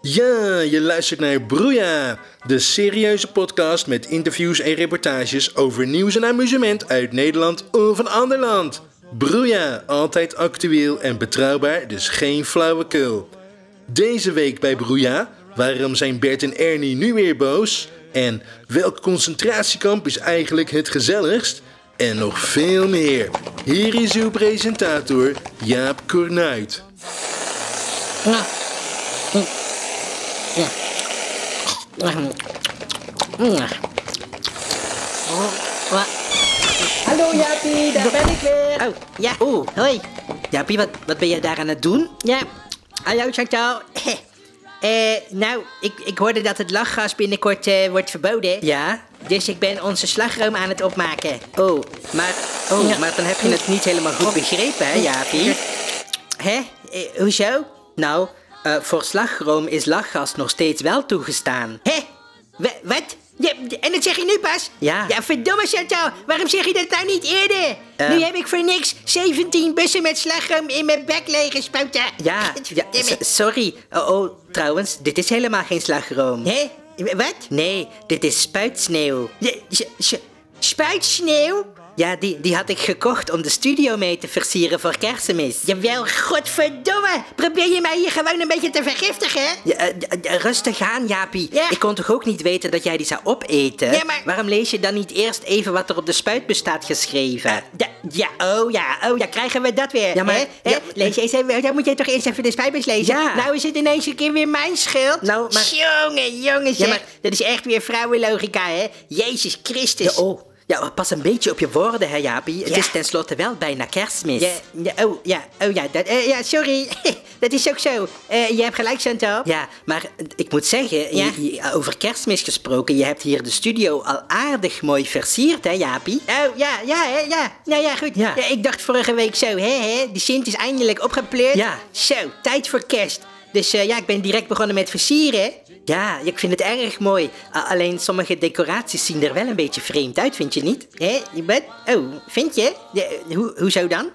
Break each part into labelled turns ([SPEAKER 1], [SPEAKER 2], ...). [SPEAKER 1] Ja, je luistert naar Broeia, de serieuze podcast met interviews en reportages over nieuws en amusement uit Nederland of een ander land. Broeia, altijd actueel en betrouwbaar, dus geen flauwekul. Deze week bij Broeia, waarom zijn Bert en Ernie nu weer boos? En welk concentratiekamp is eigenlijk het gezelligst? En nog veel meer. Hier is uw presentator, Jaap Kornuit.
[SPEAKER 2] Ja. Hm. Ja. Ehm. Ja. Oh, wa-
[SPEAKER 3] Hallo Jaapie, daar ben ik weer.
[SPEAKER 2] oh, ja, oeh, hoi. Jaapie, wat, wat ben jij daar aan het doen? Ja, hallo Chantal. Eh, nou, ik, ik hoorde dat het lachgas binnenkort eh, wordt verboden. Ja? Dus ik ben onze slagroom aan het opmaken. Oh, maar, oh, maar dan heb je het niet helemaal goed begrepen, hè, Jaapie? Hè? Eh, hoezo? Nou, eh, voor slagroom is lachgas nog steeds wel toegestaan. Hè? Wa- wat? Ja, en dat zeg je nu pas? Ja. Ja, verdomme Chantal, waarom zeg je dat nou niet eerder? Nu heb ik voor niks 17 bussen met slagroom in mijn bek leeggespoten. Ja, ja s- sorry. Oh, oh, trouwens, dit is helemaal geen slagroom. Hé? Wat? Nee, dit is spuitsneeuw. Spuitsneeuw? Ja, die, die had ik gekocht om de studio mee te versieren voor kerstmis. Jawel, godverdomme! Probeer je mij hier gewoon een beetje te vergiftigen? eh, rustig aan, Jaapie.
[SPEAKER 3] Ja.
[SPEAKER 2] Ik kon toch ook niet weten dat jij die zou opeten?
[SPEAKER 3] Ja, maar-
[SPEAKER 2] Waarom lees je dan niet eerst even wat er op de spuitbus staat geschreven?
[SPEAKER 3] Eh, Ja, oh ja, oh ja, krijgen we dat weer.
[SPEAKER 2] Ja, maar-
[SPEAKER 3] hè? Hè?
[SPEAKER 2] ja,
[SPEAKER 3] Lees eens even, dan moet jij toch eerst even de spijbers lezen.
[SPEAKER 2] Ja.
[SPEAKER 3] Nou is het ineens een keer weer mijn schuld.
[SPEAKER 2] Nou, maar-
[SPEAKER 3] Jongen, jongen zeg.
[SPEAKER 2] maar-
[SPEAKER 3] Dat is echt weer vrouwenlogica, hè. Jezus Christus.
[SPEAKER 2] Ja, oh. Ja, pas een beetje op je woorden, hè, Jaapie. Het
[SPEAKER 3] Ja.
[SPEAKER 2] is tenslotte wel bijna kerstmis.
[SPEAKER 3] Ja, ja, oh ja, oh ja, dat, eh, ja sorry. dat is ook zo. Eh, je hebt gelijk, Chantal.
[SPEAKER 2] Ja, maar ik moet zeggen,
[SPEAKER 3] Ja?
[SPEAKER 2] je- je- over kerstmis gesproken, je hebt hier de studio al aardig mooi versierd, hè, Jaapie?
[SPEAKER 3] Oh, ja, ja, hè, ja. Nou ja, goed.
[SPEAKER 2] Ja.
[SPEAKER 3] Ja, ik dacht vorige week zo, hè, hè. De Sint is eindelijk opgepleurd.
[SPEAKER 2] Ja.
[SPEAKER 3] Zo, tijd voor kerst. Dus eh, ja, ik ben direct begonnen met versieren.
[SPEAKER 2] Ja, ik vind het erg mooi. A- alleen sommige decoraties zien er wel een beetje vreemd uit, vind je niet?
[SPEAKER 3] Hè, wat? Oh, vind je? Ja, eh, hoe, hoezo dan?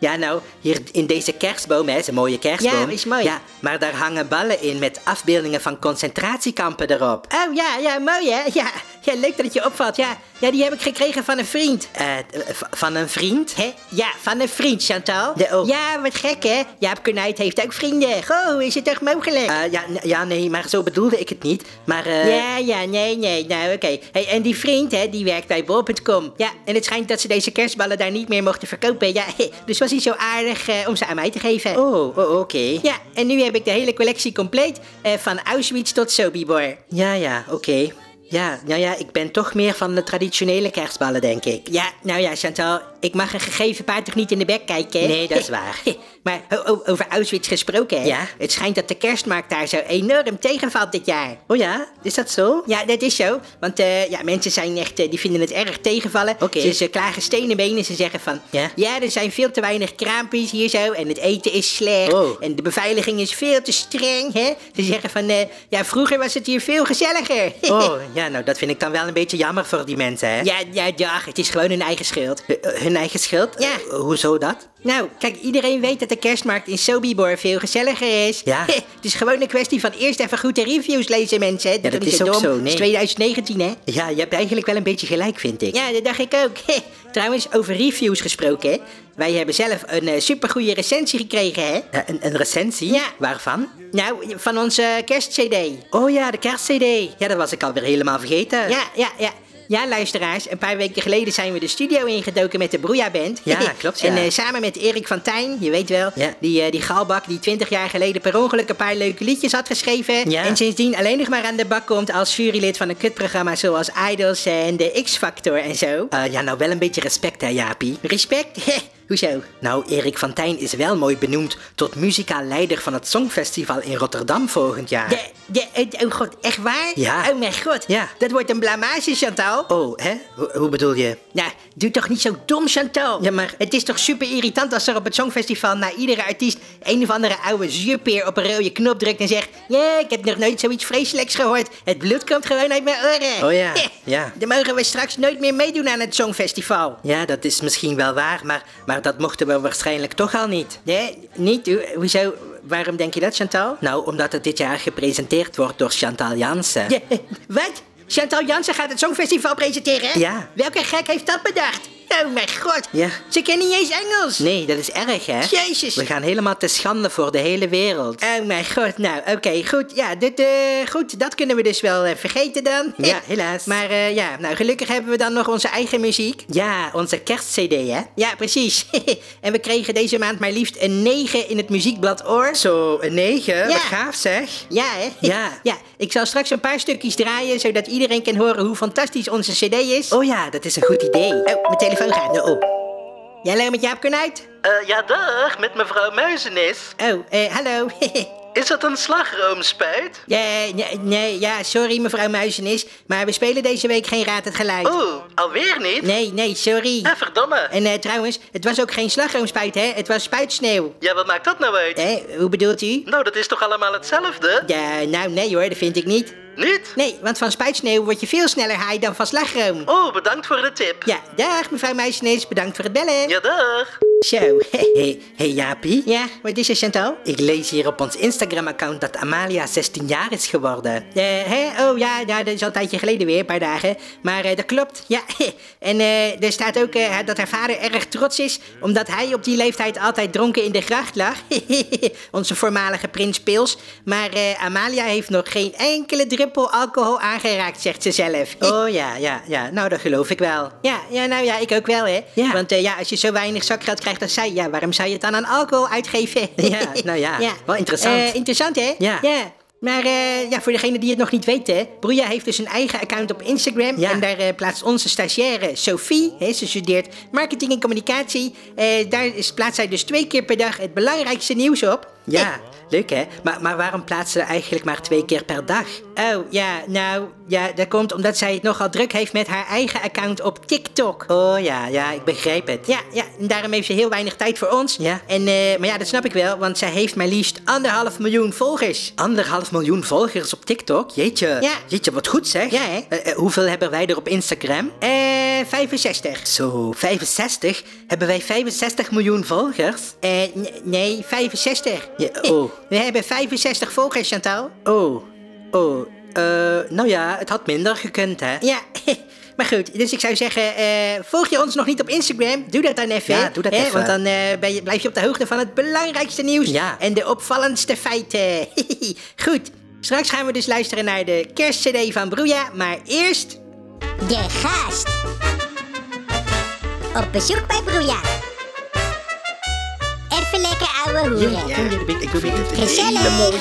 [SPEAKER 2] Ja, nou, hier in deze kerstboom, hè, is een mooie kerstboom.
[SPEAKER 3] Ja, is mooi.
[SPEAKER 2] Ja, maar daar hangen ballen in met afbeeldingen van concentratiekampen erop.
[SPEAKER 3] Oh, ja, ja, mooi, hè? Ja, ja leuk dat het je opvalt, ja. Ja, die heb ik gekregen van een vriend.
[SPEAKER 2] Eh, v- van een vriend?
[SPEAKER 3] Hè? Ja, van een vriend, Chantal.
[SPEAKER 2] Ja, oh.
[SPEAKER 3] Ja, wat gek, hè? Jaap Kornuit heeft ook vrienden. Goh, is het toch mogelijk?
[SPEAKER 2] Eh, ja, n- ja, nee, maar zo bedoelde ik het niet. Maar, eh,
[SPEAKER 3] Ja, ja, nee, nee, nou oké. Hey, en die vriend, hè, die werkt bij bol.com. Ja, en het schijnt dat ze deze kerstballen daar niet meer mochten verkopen. Ja, dus was hij zo aardig eh, om ze aan mij te geven.
[SPEAKER 2] Oh, oh, oké.
[SPEAKER 3] Ja, en nu heb ik de hele collectie compleet. eh, van Auschwitz tot Sobibor.
[SPEAKER 2] Ja, ja, oké. Ja, nou ja, ik ben toch meer van de traditionele kerstballen, denk ik.
[SPEAKER 3] Ja, nou ja, Chantal, ik mag een gegeven paard toch niet in de bek kijken? hè?
[SPEAKER 2] Nee, dat is waar.
[SPEAKER 3] maar ho- ho- over Auschwitz gesproken, hè?
[SPEAKER 2] Ja?
[SPEAKER 3] Het schijnt dat de kerstmarkt daar zo enorm tegenvalt dit jaar.
[SPEAKER 2] Oh ja, is dat zo?
[SPEAKER 3] Ja, dat is zo. Want eh, ja, mensen zijn echt, eh, die vinden het erg tegenvallen.
[SPEAKER 2] Oké.
[SPEAKER 3] Ze, ze klagen stenen benen. Ze zeggen van,
[SPEAKER 2] Ja?
[SPEAKER 3] er zijn veel te weinig kraampjes hier zo. En het eten is slecht.
[SPEAKER 2] Oh.
[SPEAKER 3] En de beveiliging is veel te streng. Hè? Ze zeggen van, eh, ja, vroeger was het hier veel gezelliger.
[SPEAKER 2] Oh, ja, nou, dat vind ik dan wel een beetje jammer voor die mensen, hè?
[SPEAKER 3] Ja, ja, dag, het is gewoon hun eigen schuld.
[SPEAKER 2] Eh, eh, hun eigen schuld?
[SPEAKER 3] Ja.
[SPEAKER 2] Eh, hoezo dat?
[SPEAKER 3] Nou, kijk, iedereen weet dat de kerstmarkt in Sobibor veel gezelliger is.
[SPEAKER 2] Ja.
[SPEAKER 3] het is gewoon een kwestie van eerst even goed de reviews lezen, mensen. Doe toch
[SPEAKER 2] Ja, dat
[SPEAKER 3] niet
[SPEAKER 2] is ook
[SPEAKER 3] dom.
[SPEAKER 2] zo, nee.
[SPEAKER 3] Het is 2019, hè?
[SPEAKER 2] Ja, je hebt eigenlijk wel een beetje gelijk, vind ik.
[SPEAKER 3] Ja, dat dacht ik ook. Heh. Trouwens, over reviews gesproken. hè. Wij hebben zelf een eh, supergoeie recensie gekregen, hè?
[SPEAKER 2] Eh, een, een recensie?
[SPEAKER 3] Ja.
[SPEAKER 2] Waarvan?
[SPEAKER 3] Nou, van onze eh, kerstcd.
[SPEAKER 2] Oh ja, de kerstcd. Ja, dat was ik alweer helemaal vergeten.
[SPEAKER 3] Ja, ja, ja. Ja, luisteraars, een paar weken geleden zijn we de studio ingedoken met de Broeia Band.
[SPEAKER 2] Ja, klopt, ja.
[SPEAKER 3] En eh, samen met Erik van Tijn, je weet wel,
[SPEAKER 2] Ja.
[SPEAKER 3] die, eh, die galbak die 20 jaar geleden per ongeluk een paar leuke liedjes had geschreven.
[SPEAKER 2] Ja.
[SPEAKER 3] En sindsdien alleen nog maar aan de bak komt als jurylid van een kutprogramma zoals Idols en de X-Factor en zo.
[SPEAKER 2] Eh, ja, nou wel een beetje respect, hè, Jaapie?
[SPEAKER 3] Respect? Heh, Hoezo?
[SPEAKER 2] Nou, Erik van Tijn is wel mooi benoemd tot muzikaal leider van het Songfestival in Rotterdam volgend jaar.
[SPEAKER 3] De, de, het- oh god, echt waar?
[SPEAKER 2] Ah. Ja.
[SPEAKER 3] Oh mijn god,
[SPEAKER 2] Ja.
[SPEAKER 3] dat wordt een blamage, Chantal.
[SPEAKER 2] Oh, hè? Ho- hoe bedoel je?
[SPEAKER 3] Nou, doe toch niet zo dom, Chantal.
[SPEAKER 2] Ja, maar-
[SPEAKER 3] Het is toch super irritant als er op het Songfestival... na iedere artiest een of andere oude zuurpeer op een rode knop drukt en zegt... Ja, ik heb nog nooit zoiets vreselijks gehoord. Het bloed komt gewoon uit mijn oren.
[SPEAKER 2] Oh ja,
[SPEAKER 3] Heh,
[SPEAKER 2] ja.
[SPEAKER 3] Dan mogen we straks nooit meer meedoen aan het Songfestival.
[SPEAKER 2] Ja, dat is misschien wel waar, maar, maar dat mochten we waarschijnlijk toch al niet.
[SPEAKER 3] Nee, niet? Ho- Hoezo?
[SPEAKER 2] waarom denk je dat, Chantal? Nou, omdat het dit jaar gepresenteerd wordt door Chantal Jansen.
[SPEAKER 3] Ja, wat? Chantal Jansen gaat het Songfestival presenteren? hè?
[SPEAKER 2] Ja.
[SPEAKER 3] Welke gek heeft dat bedacht? Oh mijn god.
[SPEAKER 2] Ja.
[SPEAKER 3] Ze kennen niet eens Engels.
[SPEAKER 2] Nee, dat is erg, hè?
[SPEAKER 3] Jezus.
[SPEAKER 2] We gaan helemaal te schande voor de hele wereld.
[SPEAKER 3] Oh mijn god, nou oké, goed. Ja, dit, eh, goed, dat kunnen we dus wel eh, vergeten dan.
[SPEAKER 2] Ja, helaas.
[SPEAKER 3] Maar eh, ja, nou gelukkig hebben we dan nog onze eigen muziek.
[SPEAKER 2] Ja, onze kerstcd, hè?
[SPEAKER 3] Ja, precies. en we kregen deze maand maar liefst een 9 in het muziekblad Oor.
[SPEAKER 2] Zo, een negen. Wat
[SPEAKER 3] Ja.
[SPEAKER 2] gaaf, zeg.
[SPEAKER 3] Ja, hè?
[SPEAKER 2] Ja.
[SPEAKER 3] ja. Ik zal straks een paar stukjes draaien, zodat iedereen kan horen hoe fantastisch onze cd is.
[SPEAKER 2] Oh ja, dat is een goed idee.
[SPEAKER 3] Oh, mijn telefoon gaat nu op. Ja, hallo, met Jaap Kornuit.
[SPEAKER 4] Eh, ja, dag, met mevrouw Muizenis.
[SPEAKER 3] Oh, eh, hallo.
[SPEAKER 4] Is dat een slagroomspuit?
[SPEAKER 3] ja, nee, nee, ja, sorry mevrouw Muizenis, maar we spelen deze week geen Raad het Geluid.
[SPEAKER 4] Oeh, alweer niet?
[SPEAKER 3] Nee, nee, sorry.
[SPEAKER 4] Ah, verdomme.
[SPEAKER 3] En eh, trouwens, het was ook geen slagroomspuit, hè? Het was spuitsneeuw.
[SPEAKER 4] Ja, wat maakt dat nou uit?
[SPEAKER 3] Eh, hoe bedoelt u?
[SPEAKER 4] Nou, dat is toch allemaal hetzelfde?
[SPEAKER 3] Ja, nou, nee hoor, dat vind ik niet.
[SPEAKER 4] Niet?
[SPEAKER 3] Nee, want van spuitsneeuw word je veel sneller haai dan van slagroom.
[SPEAKER 4] Oh, bedankt voor de tip.
[SPEAKER 3] Ja, dag mevrouw Muizenis, bedankt voor het bellen.
[SPEAKER 4] Ja, dag.
[SPEAKER 3] Zo,
[SPEAKER 2] hey, hey, Jaapie.
[SPEAKER 3] ja, wat is er Chantal?
[SPEAKER 2] Ik lees hier op ons Instagram-account dat Amalia 16 jaar is geworden.
[SPEAKER 3] Eh, hè? Oh ja, ja, dat is al een tijdje geleden weer, een paar dagen. Maar eh, dat klopt, ja. En eh, er staat ook eh, dat haar vader erg trots is... omdat hij op die leeftijd altijd dronken in de gracht lag. Onze voormalige prins Pils. Maar eh, Amalia heeft nog geen enkele druppel alcohol aangeraakt, zegt ze zelf.
[SPEAKER 2] Oh ja, ja, ja. Nou, dat geloof ik wel.
[SPEAKER 3] Ja, ja, nou ja, ik ook wel, hè.
[SPEAKER 2] Ja.
[SPEAKER 3] Want eh, ja, als je zo weinig zakgeld krijgt als zij... ja, waarom zou je het dan aan alcohol uitgeven?
[SPEAKER 2] Ja, nou ja, wel interessant.
[SPEAKER 3] Eh, interessant, hè?
[SPEAKER 2] Ja.
[SPEAKER 3] Maar eh, ja, voor degenen die het nog niet weten, hè, Broeja heeft dus een eigen account op Instagram.
[SPEAKER 2] Ja.
[SPEAKER 3] En daar eh, plaatst onze stagiaire Sophie, hè, ze studeert marketing en communicatie. Eh, daar is, plaatst zij dus twee keer per dag het belangrijkste nieuws op.
[SPEAKER 2] Ja, leuk hè? Maar, maar waarom plaatsen ze eigenlijk maar twee keer per dag?
[SPEAKER 3] Oh ja, nou ja, dat komt omdat zij het nogal druk heeft met haar eigen account op TikTok.
[SPEAKER 2] Oh ja, ja, ik begrijp het.
[SPEAKER 3] Ja, ja, en daarom heeft ze heel weinig tijd voor ons.
[SPEAKER 2] Ja.
[SPEAKER 3] En, eh, maar ja, dat snap ik wel, want zij heeft maar liefst anderhalf miljoen volgers.
[SPEAKER 2] Anderhalf miljoen volgers op TikTok? Jeetje.
[SPEAKER 3] Ja.
[SPEAKER 2] Jeetje, wat goed zeg.
[SPEAKER 3] Ja, hè?
[SPEAKER 2] Eh, eh, hoeveel hebben wij er op Instagram?
[SPEAKER 3] Eh, 65.
[SPEAKER 2] Zo, 65? Hebben wij 65 miljoen volgers?
[SPEAKER 3] Eh, n- nee, 65.
[SPEAKER 2] Ja, oh.
[SPEAKER 3] We hebben 65 volgers, Chantal.
[SPEAKER 2] Oh, oh, eh, nou ja, het had minder gekund hè?
[SPEAKER 3] Ja, maar goed. Dus ik zou zeggen, eh, volg je ons nog niet op Instagram? Doe dat dan even.
[SPEAKER 2] Ja,
[SPEAKER 3] hè?
[SPEAKER 2] doe dat
[SPEAKER 3] Hè,
[SPEAKER 2] even.
[SPEAKER 3] Want dan eh, ben je, blijf je op de hoogte van het belangrijkste nieuws.
[SPEAKER 2] Ja.
[SPEAKER 3] En de opvallendste feiten. goed. Straks gaan we dus luisteren naar de kerstcd van Broeja. Maar eerst...
[SPEAKER 5] De gast. Op bezoek bij Broeja. Even lekker ouwe hoeren.
[SPEAKER 3] ik vind het
[SPEAKER 5] Gezellig.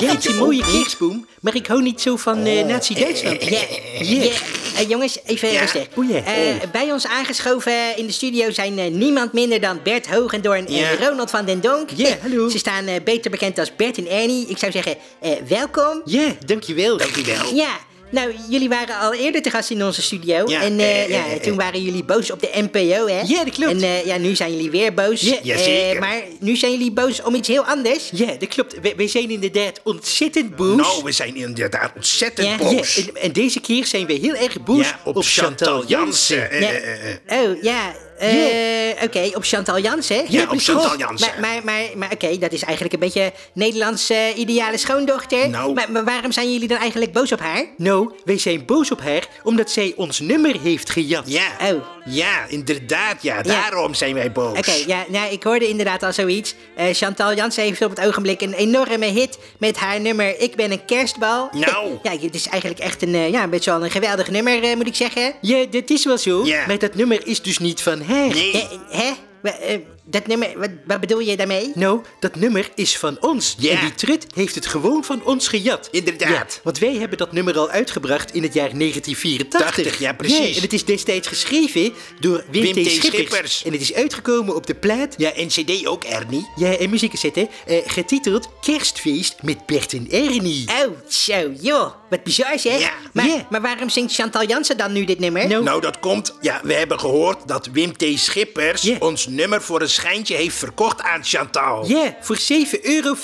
[SPEAKER 3] Jeetje, mooie kerstboom. Maar ik hou niet zo van eh, Nazi-Duitsland. Ja, ja. Eh, jongens, even rustig.
[SPEAKER 2] Oei, ja.
[SPEAKER 3] Eh, bij ons aangeschoven in de studio zijn eh, niemand minder dan Bert Hogendoorn en Ronald van den Donk.
[SPEAKER 2] Ja, hallo.
[SPEAKER 3] Ze staan eh, beter bekend als Bert en Ernie. Ik zou zeggen, eh, welkom.
[SPEAKER 2] Ja, dankjewel. Dankjewel.
[SPEAKER 3] Ja, nou, jullie waren al eerder te gast in onze studio. en eh, ja, toen waren jullie boos op de NPO, hè?
[SPEAKER 2] Ja, dat klopt.
[SPEAKER 3] En eh, ja, nu zijn jullie weer boos. Ja,
[SPEAKER 6] jazeker.
[SPEAKER 3] maar nu zijn jullie boos om iets heel anders.
[SPEAKER 2] Ja, dat klopt. We, wij zijn inderdaad ontzettend boos.
[SPEAKER 6] Nou, we zijn inderdaad ontzettend
[SPEAKER 3] Ja,
[SPEAKER 6] boos.
[SPEAKER 2] Ja, en, en deze keer zijn we heel erg boos
[SPEAKER 6] Ja, op, Chantal Jansen. Eh,
[SPEAKER 3] Ja.
[SPEAKER 6] eh, eh, eh.
[SPEAKER 3] Oh, ja. eh, Oké, op Chantal Jansen.
[SPEAKER 6] Ja, op
[SPEAKER 3] precies.
[SPEAKER 6] Chantal Jansen.
[SPEAKER 3] Maar, maar, maar, maar oké, dat is eigenlijk een beetje Nederlandse eh, ideale schoondochter.
[SPEAKER 6] Nou.
[SPEAKER 3] Maar, maar waarom zijn jullie dan eigenlijk boos op haar?
[SPEAKER 2] Nou, wij zijn boos op haar omdat zij ons nummer heeft gejat.
[SPEAKER 6] eh, Ja.
[SPEAKER 3] Oh.
[SPEAKER 6] ja, inderdaad, ja. Daarom zijn wij boos.
[SPEAKER 3] Oké, ja, nou, ik hoorde inderdaad al zoiets. Eh, Chantal Jansen heeft op het ogenblik een enorme hit met haar nummer Ik ben een kerstbal.
[SPEAKER 6] Nou.
[SPEAKER 3] ja, het is eigenlijk echt een, eh, ja, een beetje wel een geweldig nummer, eh, moet ik zeggen.
[SPEAKER 2] Ja, dat is wel zo.
[SPEAKER 6] Ja.
[SPEAKER 2] Maar dat nummer is dus niet van haar.
[SPEAKER 6] Nee.
[SPEAKER 3] Eh, hè? Wa- eh, dat nummer, wat, wat bedoel je daarmee?
[SPEAKER 2] Nou, dat nummer is van ons.
[SPEAKER 6] Ja.
[SPEAKER 2] En die trut heeft het gewoon van ons gejat.
[SPEAKER 6] Inderdaad.
[SPEAKER 2] Ja, want wij hebben dat nummer al uitgebracht in het jaar 1984.
[SPEAKER 6] 80, ja, precies.
[SPEAKER 2] en het is destijds geschreven door Wim,
[SPEAKER 6] Wim
[SPEAKER 2] T.
[SPEAKER 6] T.
[SPEAKER 2] Schippers.
[SPEAKER 6] Schippers.
[SPEAKER 2] En het is uitgekomen op de plaat...
[SPEAKER 6] Ja, en CD ook, Ernie.
[SPEAKER 2] Ja, en muziek zetten. eh, getiteld Kerstfeest met Bert en Ernie.
[SPEAKER 3] Oh, zo, joh. Wat bizar, zeg.
[SPEAKER 6] Ja.
[SPEAKER 3] Maar,
[SPEAKER 2] Ja.
[SPEAKER 3] maar waarom zingt Chantal Jansen dan nu dit nummer?
[SPEAKER 2] Nou.
[SPEAKER 6] Nou, dat komt. Ja, we hebben gehoord dat Wim T. Schippers
[SPEAKER 2] Ja.
[SPEAKER 6] ons nummer voor een schijntje heeft verkocht aan Chantal.
[SPEAKER 2] Ja, voor 7,50 euro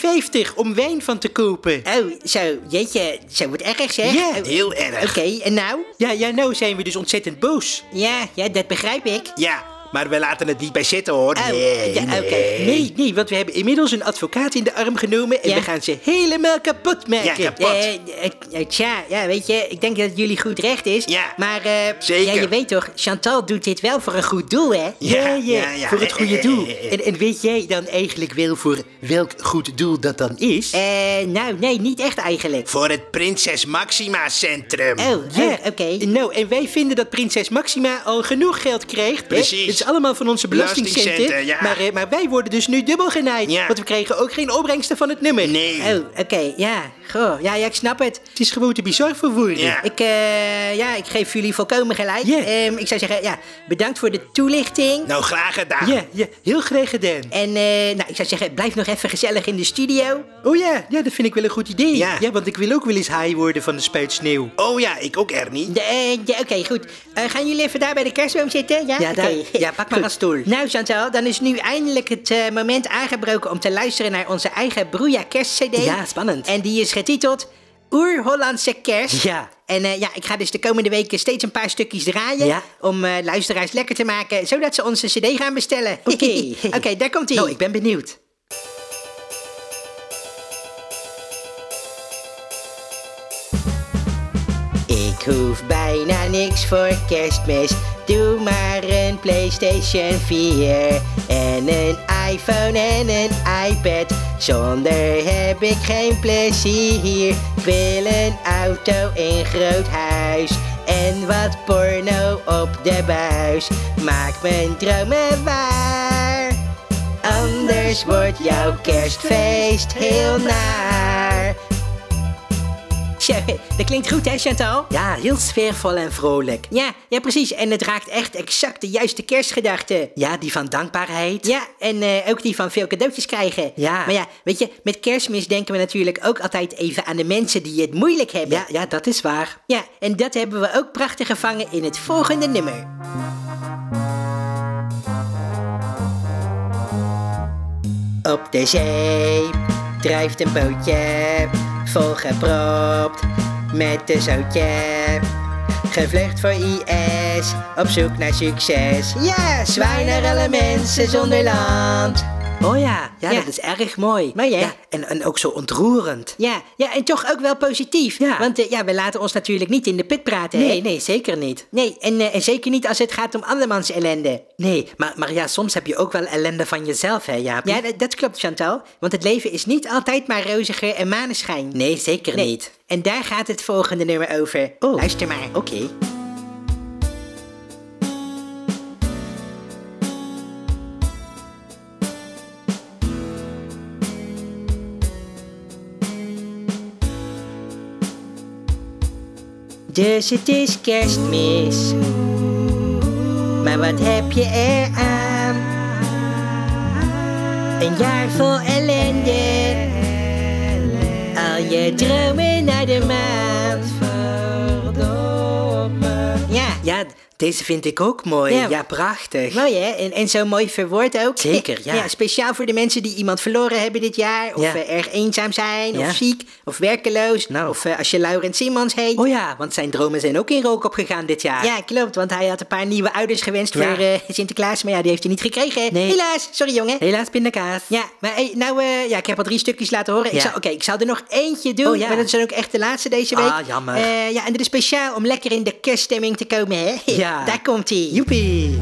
[SPEAKER 2] om wijn van te kopen.
[SPEAKER 3] Oh, zo, jeetje. Zo wordt erg, zeg.
[SPEAKER 2] Ja,
[SPEAKER 3] Oh, Oké,
[SPEAKER 6] Heel erg.
[SPEAKER 3] en nou?
[SPEAKER 2] Ja, ja, nou zijn we dus ontzettend boos.
[SPEAKER 3] Ja, ja, dat begrijp ik.
[SPEAKER 6] Ja, Maar we laten het niet bij zitten hoor.
[SPEAKER 2] Oh,
[SPEAKER 6] nee,
[SPEAKER 2] ja, oké.
[SPEAKER 6] nee.
[SPEAKER 2] Nee, nee, want we hebben inmiddels een advocaat in de arm genomen en
[SPEAKER 3] Ja.
[SPEAKER 2] we gaan ze helemaal kapot maken.
[SPEAKER 6] Ja, kapot.
[SPEAKER 2] Eh,
[SPEAKER 3] Eh, eh, eh, tja, ja, weet je, ik denk dat het jullie goed recht is.
[SPEAKER 6] Ja,
[SPEAKER 3] Maar eh,
[SPEAKER 6] zeker.
[SPEAKER 3] Ja, je weet toch, Chantal doet dit wel voor een goed doel, hè?
[SPEAKER 2] ja, ja,
[SPEAKER 6] ja, ja.
[SPEAKER 2] voor het goede doel.
[SPEAKER 6] Eh, eh,
[SPEAKER 2] En, en weet jij dan eigenlijk wel voor welk goed doel dat dan is?
[SPEAKER 3] Eh, nou, nee, niet echt eigenlijk.
[SPEAKER 6] Voor het Prinses Maxima Centrum.
[SPEAKER 3] Oh, ja, oké.
[SPEAKER 2] Nou, en wij vinden dat prinses Maxima al genoeg geld krijgt. hè?
[SPEAKER 6] Precies.
[SPEAKER 2] Het is allemaal van onze belastingcenten.
[SPEAKER 6] Belastingcenten, ja.
[SPEAKER 2] maar, eh, maar wij worden dus nu dubbel genaaid.
[SPEAKER 6] Ja.
[SPEAKER 2] Want we kregen ook geen opbrengsten van het nummer.
[SPEAKER 6] Nee.
[SPEAKER 3] Oh, oké, ja. Goh,
[SPEAKER 2] Oh,
[SPEAKER 3] ja, ja, ik snap het.
[SPEAKER 2] Het is gewoon te bizar voor woorden.
[SPEAKER 6] Ja.
[SPEAKER 3] Ik, eh, ja, ik geef jullie volkomen gelijk.
[SPEAKER 2] Ja.
[SPEAKER 3] Ehm, ik zou zeggen, ja, bedankt voor de toelichting.
[SPEAKER 6] Nou, graag gedaan.
[SPEAKER 2] Ja, ja, heel graag gedaan.
[SPEAKER 3] En eh, nou, ik zou zeggen, blijf nog even gezellig in de studio.
[SPEAKER 2] Oh ja, ja, dat vind ik wel een goed idee.
[SPEAKER 6] Ja.
[SPEAKER 2] want ik wil ook wel eens high worden van de spuit sneeuw.
[SPEAKER 6] Oh ja, ik ook Ernie.
[SPEAKER 3] De, eh, de- Oké, goed. Eh, gaan jullie even daar bij de kerstboom zitten? Ja,
[SPEAKER 2] Ja, daar.
[SPEAKER 3] Oké.
[SPEAKER 2] Ja, pak maar
[SPEAKER 3] Goed.
[SPEAKER 2] een stoel.
[SPEAKER 3] Nou, Chantal, dan is nu eindelijk het eh, moment aangebroken om te luisteren naar onze eigen Broeja kerstcd.
[SPEAKER 2] Ja, spannend.
[SPEAKER 3] En die is getiteld Oer-Hollandse Kerst.
[SPEAKER 2] Ja.
[SPEAKER 3] En eh, ja, ik ga dus de komende weken steeds een paar stukjes draaien
[SPEAKER 2] Ja.
[SPEAKER 3] om eh, luisteraars lekker te maken, zodat ze onze cd gaan bestellen.
[SPEAKER 2] Oké.
[SPEAKER 3] Oké, daar komt ie.
[SPEAKER 2] Nou, ik ben benieuwd.
[SPEAKER 3] Ik hoef bijna niks voor kerstmis. Doe maar een PlayStation 4 en een iPhone en een iPad. Zonder heb ik geen plezier. Ik wil een auto, een groot huis en wat porno op de buis. Maak mijn dromen waar. Anders wordt jouw kerstfeest heel naar. Zo, dat klinkt goed hè Chantal?
[SPEAKER 2] Ja, heel sfeervol en vrolijk.
[SPEAKER 3] Ja, ja, precies. En het raakt echt exact de juiste kerstgedachte.
[SPEAKER 2] Ja, die van dankbaarheid.
[SPEAKER 3] Ja, en eh, ook die van veel cadeautjes krijgen.
[SPEAKER 2] Ja.
[SPEAKER 3] Maar ja, weet je, met kerstmis denken we natuurlijk ook altijd even aan de mensen die het moeilijk hebben.
[SPEAKER 2] Ja, ja, dat is waar.
[SPEAKER 3] Ja, en dat hebben we ook prachtig gevangen in het volgende nummer. Op de zee drijft een bootje, volgepropt met een zootje. Gevlucht voor IS, op zoek naar succes. Ja, zwaai naar alle mensen zonder land.
[SPEAKER 2] Oh ja, ja,
[SPEAKER 3] Ja.
[SPEAKER 2] dat is erg mooi.
[SPEAKER 3] Mooi, hè?
[SPEAKER 2] Ja, en, en ook zo ontroerend.
[SPEAKER 3] Ja, ja, en toch ook wel positief.
[SPEAKER 2] Ja.
[SPEAKER 3] Want eh, ja, we laten ons natuurlijk niet in de put praten, hè?
[SPEAKER 2] Nee, nee, zeker niet.
[SPEAKER 3] Nee, en, eh, en zeker niet als het gaat om andermans ellende.
[SPEAKER 2] Nee, maar, maar ja, soms heb je ook wel ellende van jezelf, hè, Jaapie?
[SPEAKER 3] Ja, dat, dat klopt, Chantal. Want het leven is niet altijd maar roziger en maneschijn.
[SPEAKER 2] Nee, zeker
[SPEAKER 3] Nee.
[SPEAKER 2] niet.
[SPEAKER 3] En daar gaat het volgende nummer over.
[SPEAKER 2] Oh.
[SPEAKER 3] Luister maar.
[SPEAKER 2] Oké.
[SPEAKER 3] Dus het is kerstmis. Maar wat heb je eraan? Een jaar vol ellende. Al je dromen naar de maan. Ja,
[SPEAKER 2] Ja, deze vind ik ook mooi.
[SPEAKER 3] Ja.
[SPEAKER 2] Ja, prachtig.
[SPEAKER 3] Mooi hè? En, en zo mooi verwoord ook. Eh,
[SPEAKER 2] Zeker, ja.
[SPEAKER 3] Speciaal voor de mensen die iemand verloren hebben dit jaar. Of
[SPEAKER 2] Ja.
[SPEAKER 3] eh, erg eenzaam zijn.
[SPEAKER 2] Ja.
[SPEAKER 3] Of ziek. Of werkeloos.
[SPEAKER 2] Nou.
[SPEAKER 3] Of eh, als je Laurent Simons heet.
[SPEAKER 2] Oh ja, want zijn dromen zijn ook in rook opgegaan dit jaar.
[SPEAKER 3] Ja, klopt. Want hij had een paar nieuwe ouders gewenst
[SPEAKER 2] Ja.
[SPEAKER 3] voor eh, Sinterklaas. Maar ja, die heeft hij niet gekregen.
[SPEAKER 2] Nee.
[SPEAKER 3] Helaas. Sorry jongen.
[SPEAKER 2] Helaas pindakaas.
[SPEAKER 3] Ja, maar hey, nou, eh, ja, ik heb al drie stukjes laten horen. Ik
[SPEAKER 2] Ja.
[SPEAKER 3] zal- Oké, ik zal er nog eentje doen.
[SPEAKER 2] Oh, ja.
[SPEAKER 3] Maar dat zijn ook echt de laatste deze week.
[SPEAKER 2] Ah, jammer.
[SPEAKER 3] Eh, ja, en dit is speciaal om lekker in de kerststemming te komen, hè?
[SPEAKER 2] Ja.
[SPEAKER 3] Daar komt hij.
[SPEAKER 2] Joepie.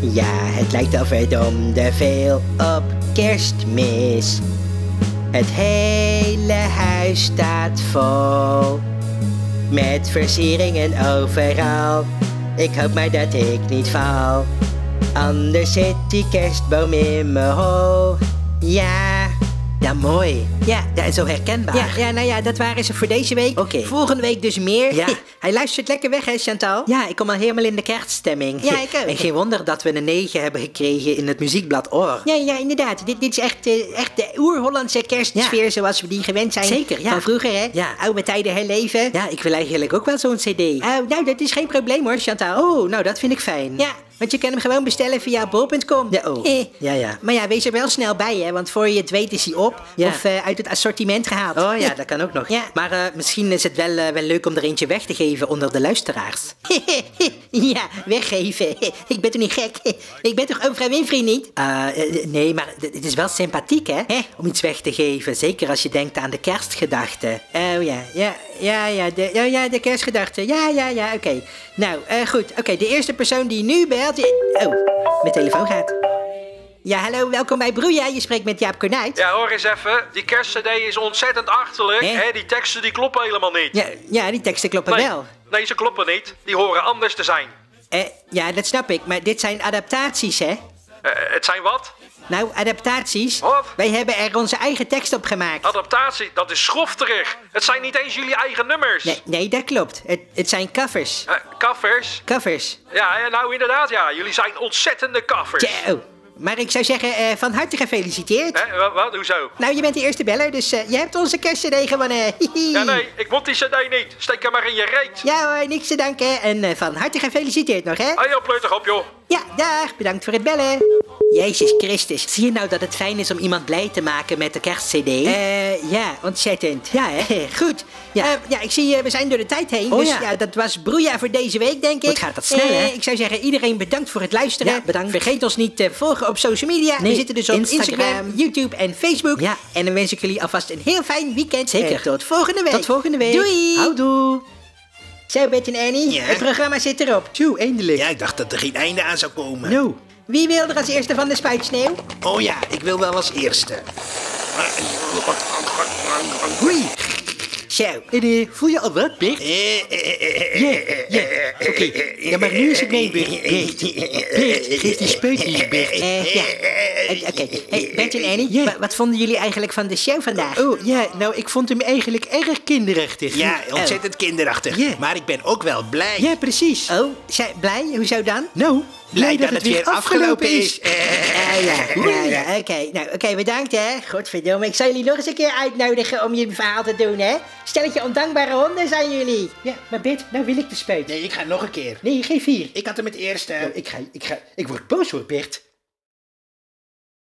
[SPEAKER 3] Ja, het lijkt al verdomde veel op kerstmis. Het hele huis staat vol. Met versieringen overal. Ik hoop maar dat ik niet val. Anders zit die kerstboom in mijn hol. Ja.
[SPEAKER 2] Ja, mooi.
[SPEAKER 3] Ja,
[SPEAKER 2] Ja, en zo herkenbaar.
[SPEAKER 3] ja, ja, nou ja, dat waren ze voor deze week.
[SPEAKER 2] Oké.
[SPEAKER 3] Volgende week dus meer.
[SPEAKER 2] Ja.
[SPEAKER 3] Hij luistert lekker weg, hè, Chantal?
[SPEAKER 2] Ja, ik kom al helemaal in de kerststemming.
[SPEAKER 3] Ja, ik ook.
[SPEAKER 2] En geen wonder dat we een 9 hebben gekregen in het muziekblad Or.
[SPEAKER 3] Ja, ja, inderdaad. Dit, dit is echt, eh, echt de oer-Hollandse kerstsfeer
[SPEAKER 2] Ja.
[SPEAKER 3] zoals we die gewend zijn.
[SPEAKER 2] Zeker, ja.
[SPEAKER 3] Van vroeger, hè?
[SPEAKER 2] Ja.
[SPEAKER 3] Oude tijden herleven.
[SPEAKER 2] Ja, ik wil eigenlijk ook wel zo'n cd.
[SPEAKER 3] Eh, Oh, nou, dat is geen probleem hoor, Chantal.
[SPEAKER 2] Oh, nou, dat vind ik fijn.
[SPEAKER 3] Ja, Want je kan hem gewoon bestellen via bol.com.
[SPEAKER 2] Ja, oh.
[SPEAKER 3] Eh.
[SPEAKER 2] Ja, ja.
[SPEAKER 3] Maar ja, wees er wel snel bij, hè. Want voor je het weet is hij op.
[SPEAKER 2] Ja.
[SPEAKER 3] Of eh, uit het assortiment gehaald.
[SPEAKER 2] Oh ja, dat kan ook nog.
[SPEAKER 3] Ja.
[SPEAKER 2] Maar eh, misschien is het wel, eh, wel leuk om er eentje weg te geven onder de luisteraars.
[SPEAKER 3] ja, weggeven. Ik ben toch niet gek? Ik ben toch Oprah Winfrey niet?
[SPEAKER 2] Eh, eh, nee, maar d- het is wel sympathiek, hè?
[SPEAKER 3] Hè?
[SPEAKER 2] Om iets weg te geven. Zeker als je denkt aan de kerstgedachte.
[SPEAKER 3] Oh ja, ja, ja, ja, de, ja, ja, de kerstgedachte. Ja, ja, ja, oké. Nou, eh, goed. Oké, de eerste persoon die nu belt... i- Oh, mijn telefoon gaat. Ja, hallo, welkom bij Broeia. Je spreekt met Jaap Kornuit.
[SPEAKER 7] Ja, hoor eens even. Die kerstcd is ontzettend achterlijk.
[SPEAKER 3] Hè?
[SPEAKER 7] Hè? Die teksten die kloppen helemaal niet.
[SPEAKER 3] Ja, ja, die teksten kloppen
[SPEAKER 7] nee,
[SPEAKER 3] wel.
[SPEAKER 7] nee, ze kloppen niet. Die horen anders te zijn.
[SPEAKER 3] Eh, ja, dat snap ik, maar dit zijn adaptaties, hè?
[SPEAKER 7] Eh, het zijn wat?
[SPEAKER 3] Nou, adaptaties.
[SPEAKER 7] Wat?
[SPEAKER 3] Wij hebben er onze eigen tekst op gemaakt.
[SPEAKER 7] Adaptatie, dat is schofterig. Het zijn niet eens jullie eigen nummers.
[SPEAKER 3] Nee, nee dat klopt. Het, het zijn covers.
[SPEAKER 7] Eh, covers?
[SPEAKER 3] Covers.
[SPEAKER 7] Ja, ja, nou inderdaad, ja. Jullie zijn ontzettende covers.
[SPEAKER 3] Tja, oh. Maar ik zou zeggen, eh, van harte gefeliciteerd.
[SPEAKER 7] Hè, wa- wat? Hoezo?
[SPEAKER 3] Nou, je bent de eerste beller, dus eh, je hebt onze kerstcd gewonnen. Hihi.
[SPEAKER 7] Ja, nee, ik moet die cd niet. Steek hem maar in je reet.
[SPEAKER 3] Ja hoor, niks te danken. En eh, van harte gefeliciteerd nog, hè?
[SPEAKER 7] Hey, joh, pleur toch op, joh.
[SPEAKER 3] Ja,
[SPEAKER 2] Ah.
[SPEAKER 3] dag. Bedankt voor het bellen.
[SPEAKER 2] Jezus Christus, zie je nou dat het fijn is om iemand blij te maken met de kerstcd?
[SPEAKER 3] Eh, ja, ontzettend. Eh,
[SPEAKER 2] Ja, hè?
[SPEAKER 3] Goed. Ja,
[SPEAKER 2] Ja.
[SPEAKER 3] ja ik zie, eh, we zijn door de tijd heen.
[SPEAKER 2] Oh,
[SPEAKER 3] dus ja.
[SPEAKER 2] ja.
[SPEAKER 3] dat was Broeia voor deze week, denk ik.
[SPEAKER 2] Wat gaat dat snel,
[SPEAKER 3] Eh,
[SPEAKER 2] hè?
[SPEAKER 3] Ik zou zeggen, iedereen bedankt voor het luisteren.
[SPEAKER 2] Ja, bedankt.
[SPEAKER 3] Vergeet ons niet te volgen op social media.
[SPEAKER 2] Nee,
[SPEAKER 3] we zitten dus op Instagram,
[SPEAKER 2] Instagram,
[SPEAKER 3] YouTube en Facebook.
[SPEAKER 2] Ja.
[SPEAKER 3] En dan wens ik jullie alvast een heel fijn weekend.
[SPEAKER 2] Zeker.
[SPEAKER 3] En Eh, tot volgende week.
[SPEAKER 2] Tot volgende week.
[SPEAKER 3] Doei.
[SPEAKER 2] Houdoe.
[SPEAKER 3] Zo, Bert en Annie.
[SPEAKER 6] Ja.
[SPEAKER 3] Het programma zit erop. Tjoe, eindelijk.
[SPEAKER 6] Ja, ik dacht dat er geen einde aan zou komen.
[SPEAKER 3] No. Wie wil er als eerste van de spuitsneeuw?
[SPEAKER 6] Oh ja, ik wil wel als eerste.
[SPEAKER 3] Oei. Zo.
[SPEAKER 2] voel je al wat, Bert?
[SPEAKER 6] Oké,
[SPEAKER 2] ja, maar nu is het nee, Bert. Bert, Bert, geef die speut hier, Bert.
[SPEAKER 3] Eh, ja. Eh, Oké. Hey, Bert en Annie,
[SPEAKER 2] Ja.
[SPEAKER 3] wa- wat vonden jullie eigenlijk van de show vandaag?
[SPEAKER 2] Oh, ja, nou, ik vond hem eigenlijk erg kinderachtig.
[SPEAKER 6] Ja, ontzettend kinderachtig.
[SPEAKER 2] Ja.
[SPEAKER 6] Maar ik ben ook wel blij.
[SPEAKER 2] Ja, precies.
[SPEAKER 3] Oh, zij, blij? Hoezo dan?
[SPEAKER 2] Nou,
[SPEAKER 6] Blij dat het weer afgelopen is.
[SPEAKER 3] Ah ja, nou, ja, oké. Nou, oké, bedankt hè. Godverdomme, ik zal jullie nog eens een keer uitnodigen om je verhaal te doen hè. Stelletje ondankbare honden zijn jullie. Ja, maar Bert, nou wil ik de spuit.
[SPEAKER 6] Nee, ik Eh, ga nog een keer.
[SPEAKER 3] Nee, geef hier.
[SPEAKER 6] Ik had hem het eerste.
[SPEAKER 3] Ik ga, ik ga, ik word boos hoor Bert.